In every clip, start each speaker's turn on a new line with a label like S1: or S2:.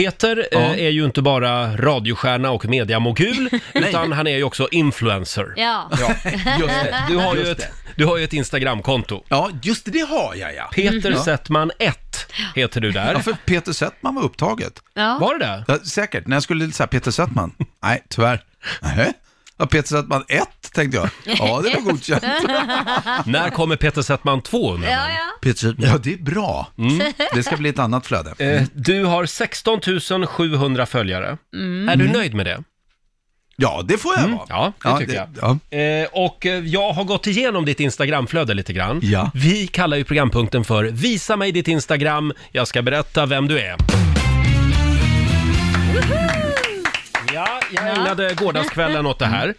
S1: Peter
S2: Ja.
S1: eh, är ju inte bara radiostjärna och mediamogul, utan han är ju också influencer.
S3: Ja.
S2: Ja, just det. Du har
S1: ju
S2: just
S1: ett,
S2: det.
S1: du har ju ett Instagramkonto.
S2: Ja, just det, det har jag ja.
S1: Peter
S2: Mm. Ja.
S1: Settman 1 heter du där.
S2: Ja, för Peter Settman var upptaget.
S3: ja.
S1: Var det det?
S2: Ja, säkert, när jag skulle säga Peter Settman. Nej, tyvärr. Nähä? Ja, Peter Settman 1 tänkte jag. Ja, det var godkänt.
S1: När kommer Peter Settman 2 undrar man?
S3: Ja, ja.
S2: Peter Settman, ja det är bra.
S1: Mm.
S2: Det ska bli ett annat flöde.
S1: Eh, Du har 16 700 följare.
S2: Mm.
S1: Är du nöjd med det?
S2: Ja, det får jag vara.
S1: Mm. Ja, det tycker jag.
S2: Ja.
S1: Eh, och eh, jag har gått igenom ditt Instagramflöde lite grann.
S2: Ja.
S1: Vi kallar ju programpunkten för “Visa mig ditt Instagram, jag ska berätta vem du är”. Ja, jag ägnade gårdagskvällen åt det här.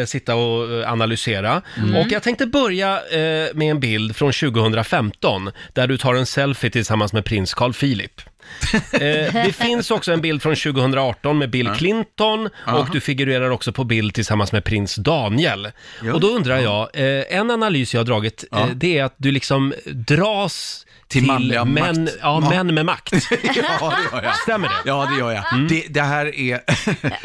S1: Eh, sitta och eh, analysera. Och jag tänkte börja eh, med en bild från 2015 där du tar en selfie tillsammans med prins Carl Philip. Eh, det finns också en bild från 2018 med Bill Clinton och du figurerar också på bild tillsammans med prins Daniel. Och då undrar jag, eh, en analys jag har dragit, eh, det är att du liksom dras
S2: Till
S1: till
S2: manliga
S1: män,
S2: makt.
S1: ja,
S2: Ja.
S1: män med makt.
S2: ja, det gör jag.
S1: Stämmer det?
S2: Ja, det gör jag.
S1: Mm.
S2: Det, det här är...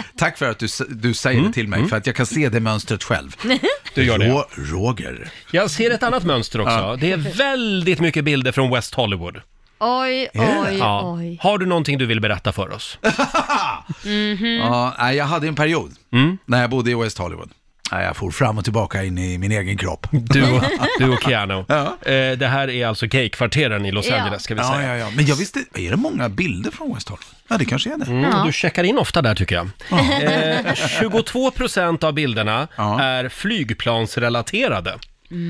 S2: Tack för att du, s- du säger det till mig, för att jag kan se det mönstret själv.
S1: Mm. Du gör det, ja.
S2: Rå, Roger.
S1: Jag ser ett annat mönster också. Det är väldigt mycket bilder från West Hollywood.
S3: Oj,
S2: det?
S3: oj,
S1: Ja.
S3: oj.
S1: Har du någonting du vill berätta för oss?
S3: Mm.
S2: Ja, nej, jag hade en period när jag bodde i West Hollywood. Nej, jag for fram och tillbaka in i min egen kropp.
S1: Du och, du och Keanu.
S2: Ja.
S1: Eh, Det här är alltså gaykvarteren i Los
S3: Ja.
S1: Angeles, ska vi
S2: Ja,
S1: säga.
S2: ja, ja. Men jag visste... Är det många bilder från West Hollywood? Ja, det kanske är det.
S1: Mm, Du checkar in ofta där tycker jag. Eh, 22 procent av bilderna
S2: Ja.
S1: är flygplansrelaterade.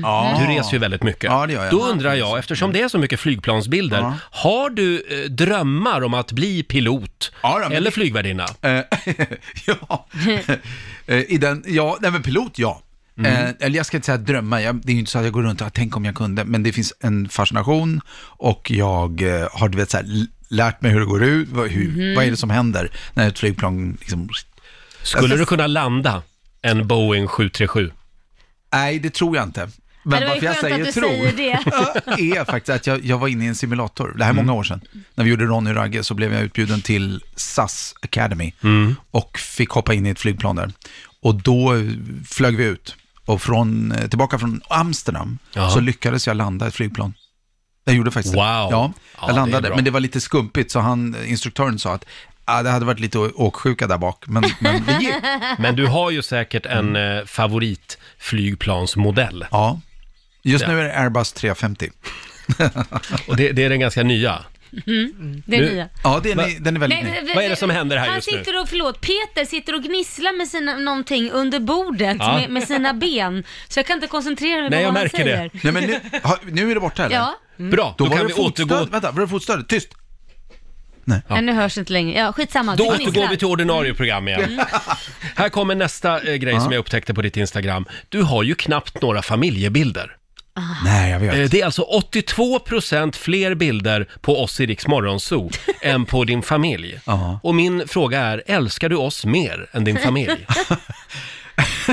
S2: Ja.
S1: Du reser ju väldigt mycket.
S2: Ja, det gör jag.
S1: Då undrar jag, eftersom det är så mycket flygplansbilder,
S2: Ja.
S1: har du eh, drömmar om att bli pilot?
S2: Ja, då, men-
S1: eller flygvärdinna?
S2: Eh, ja. Eh, I den, ja, nej men pilot, ja.
S3: Mm.
S2: Eh, eller jag ska inte säga drömma, jag, det är ju inte så att jag går runt och "Ah, tänk om jag kunde, men det finns en fascination och jag eh, har du vet, så här, l- lärt mig hur det går ut, vad, hur,
S3: Mm-hmm.
S2: vad är det som händer när ett flygplan liksom...
S1: Skulle du kunna landa en Boeing 737?
S2: Nej, det tror jag inte. Men,
S3: det var ju
S2: varför jag
S3: skönt
S2: säger
S3: att du
S2: tror
S3: säger
S2: är faktiskt att jag, jag var inne i en simulator, det här är
S1: Mm.
S2: många år sedan. När vi gjorde Ronny och Ragge så blev jag utbjuden till SAS Academy
S1: Mm.
S2: och fick hoppa in i ett flygplan där. Och då eh, flög vi ut och från, eh, tillbaka från Amsterdam
S1: Ja.
S2: så lyckades jag landa ett flygplan. Jag gjorde faktiskt
S1: Wow.
S2: det. Ja,
S1: Ja,
S2: jag
S1: det är
S2: landade,
S1: bra.
S2: men det var lite skumpigt så han, eh, instruktören sa att ah, det hade varit lite å- åksjuka där bak, men, men det gick.
S1: Men du har ju säkert en
S2: Mm.
S1: eh, favoritflygplansmodell.
S2: Ja. Just
S1: Ja.
S2: nu är det Airbus 350.
S1: Och det, det är den ganska nya.
S3: Det är
S1: Nu-
S3: nya.
S2: Ja, den är, den är väldigt ny.
S1: Vad är det som händer här
S3: han
S1: just nu?
S3: sitter och, förlåt, Peter sitter och gnisslar med sina, någonting under bordet
S1: Ja.
S3: med, med sina ben. Så jag kan inte koncentrera mig
S1: Nej,
S3: på
S1: jag
S3: vad
S1: märker
S3: han
S1: det.
S3: säger.
S2: Nej, men nu, har- nu är det borta eller?
S3: Ja.
S1: Bra, då,
S2: Mm. Då, var
S1: kan
S2: det
S1: vi
S2: fotstöd.
S1: återgå...
S2: Vänta, var det fotstödet? Tyst!
S3: Nej, nu hörs inte längre. Ja, skitsamma.
S1: Då
S3: Du
S1: återgår
S3: gnisslar.
S1: vi till ordinarie program igen. Här kommer nästa eh, grej som jag upptäckte på ditt Instagram. Du har ju knappt några familjebilder.
S2: Nej, jag vet.
S1: Eh, Det är alltså 82% fler bilder på oss i Riks Morgonzoo än på din familj.
S2: Ja.
S1: Och min fråga är, älskar du oss mer än din familj?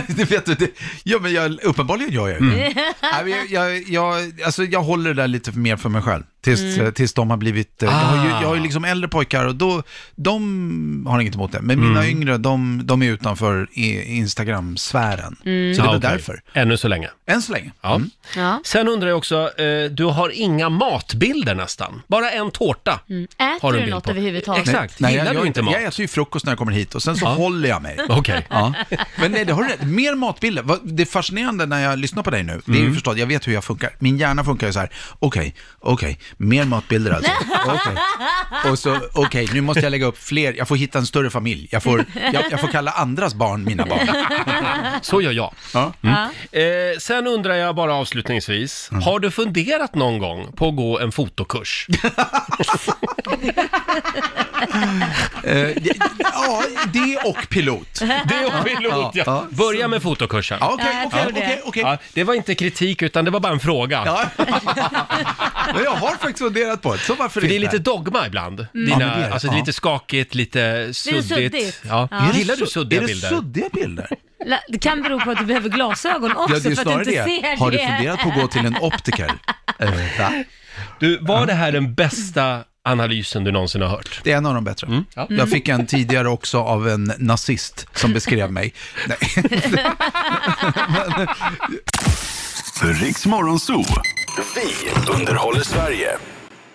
S2: det vet du, det, ja, men jag, uppenbarligen gör jag ju
S1: Mm.
S2: det. Nej, men jag, jag, jag, alltså, jag håller det där lite mer för mig själv, tills,
S1: Mm.
S2: eh, tills de har blivit... eh, Jag, har ju,
S1: Ah.
S2: jag har ju liksom äldre pojkar och då, de har inget emot det. Men mina
S1: Mm.
S2: yngre, de, de är utanför i- Instagram-sfären. Så det är
S1: Mm. Ja,
S2: väl
S1: okej.
S2: därför. Mm.
S1: Ännu så länge.
S2: Än så länge.
S1: Ja.
S3: Ja.
S1: Sen undrar jag också, eh, du har inga matbilder nästan. Bara en tårta.
S3: Äter
S1: Har du
S3: du
S1: en bild
S3: något
S1: på?
S3: överhuvudtaget?
S1: Exakt. Gillar
S2: jag,
S1: du
S2: jag,
S1: inte mat?
S2: Jag äter ju frukost när jag kommer hit och sen så
S1: Ja.
S2: håller jag mig.
S1: Okej.
S2: Ja. Men nej, det har du rätt. Mer matbilder. Vad- Det är fascinerande när jag lyssnar på dig nu, det är
S1: Mm.
S2: ju förstås, jag vet hur jag funkar. Min hjärna funkar ju så här, okej, okej, mer matbilder alltså. Okej. Och så, okej, nu måste jag lägga upp fler, jag får hitta en större familj. Jag får, jag, jag får kalla andras barn mina barn.
S1: Så gör jag.
S2: Ja.
S1: Eh, sen undrar jag bara avslutningsvis,
S2: Mm.
S1: har du funderat någon gång på att gå en fotokurs?
S2: Eh, ja, det och pilot.
S1: Det är pilot,
S2: Ja,
S1: ja.
S2: ja.
S1: Börja med fotokursen.
S2: Ja,
S3: Ja,
S2: Okej,
S3: jag
S2: okej,
S3: tror det.
S2: okej, okej.
S1: Ja, det var inte kritik utan det var bara en fråga.
S2: Ja. Men jag har faktiskt funderat på det, så varför
S1: För det är
S2: inte?
S1: lite dogma ibland.
S2: Ja,
S1: Dina,
S2: men det är det.
S1: alltså det är
S2: Ja.
S1: lite skakigt, lite suddigt.
S3: suddigt.
S1: Ja.
S2: Är det
S1: Gillar du
S2: su-
S1: suddiga
S2: är det
S1: bilder?
S2: suddiga bilder?
S3: La- Det kan bero på att du behöver glasögon också
S2: Ja, det är
S3: Alltså, för att
S2: snarare
S3: du inte
S2: det.
S3: ser
S2: Har du
S3: det.
S2: funderat på att gå till en optiker? Eh, va?
S1: Du, var det här den bästa analysen du någonsin har hört.
S2: Det är en av de bättre.
S1: ja.
S2: Jag fick en tidigare också av en nazist som beskrev mig. Nej.
S4: Riks Morgonzoo. Vi underhåller Sverige.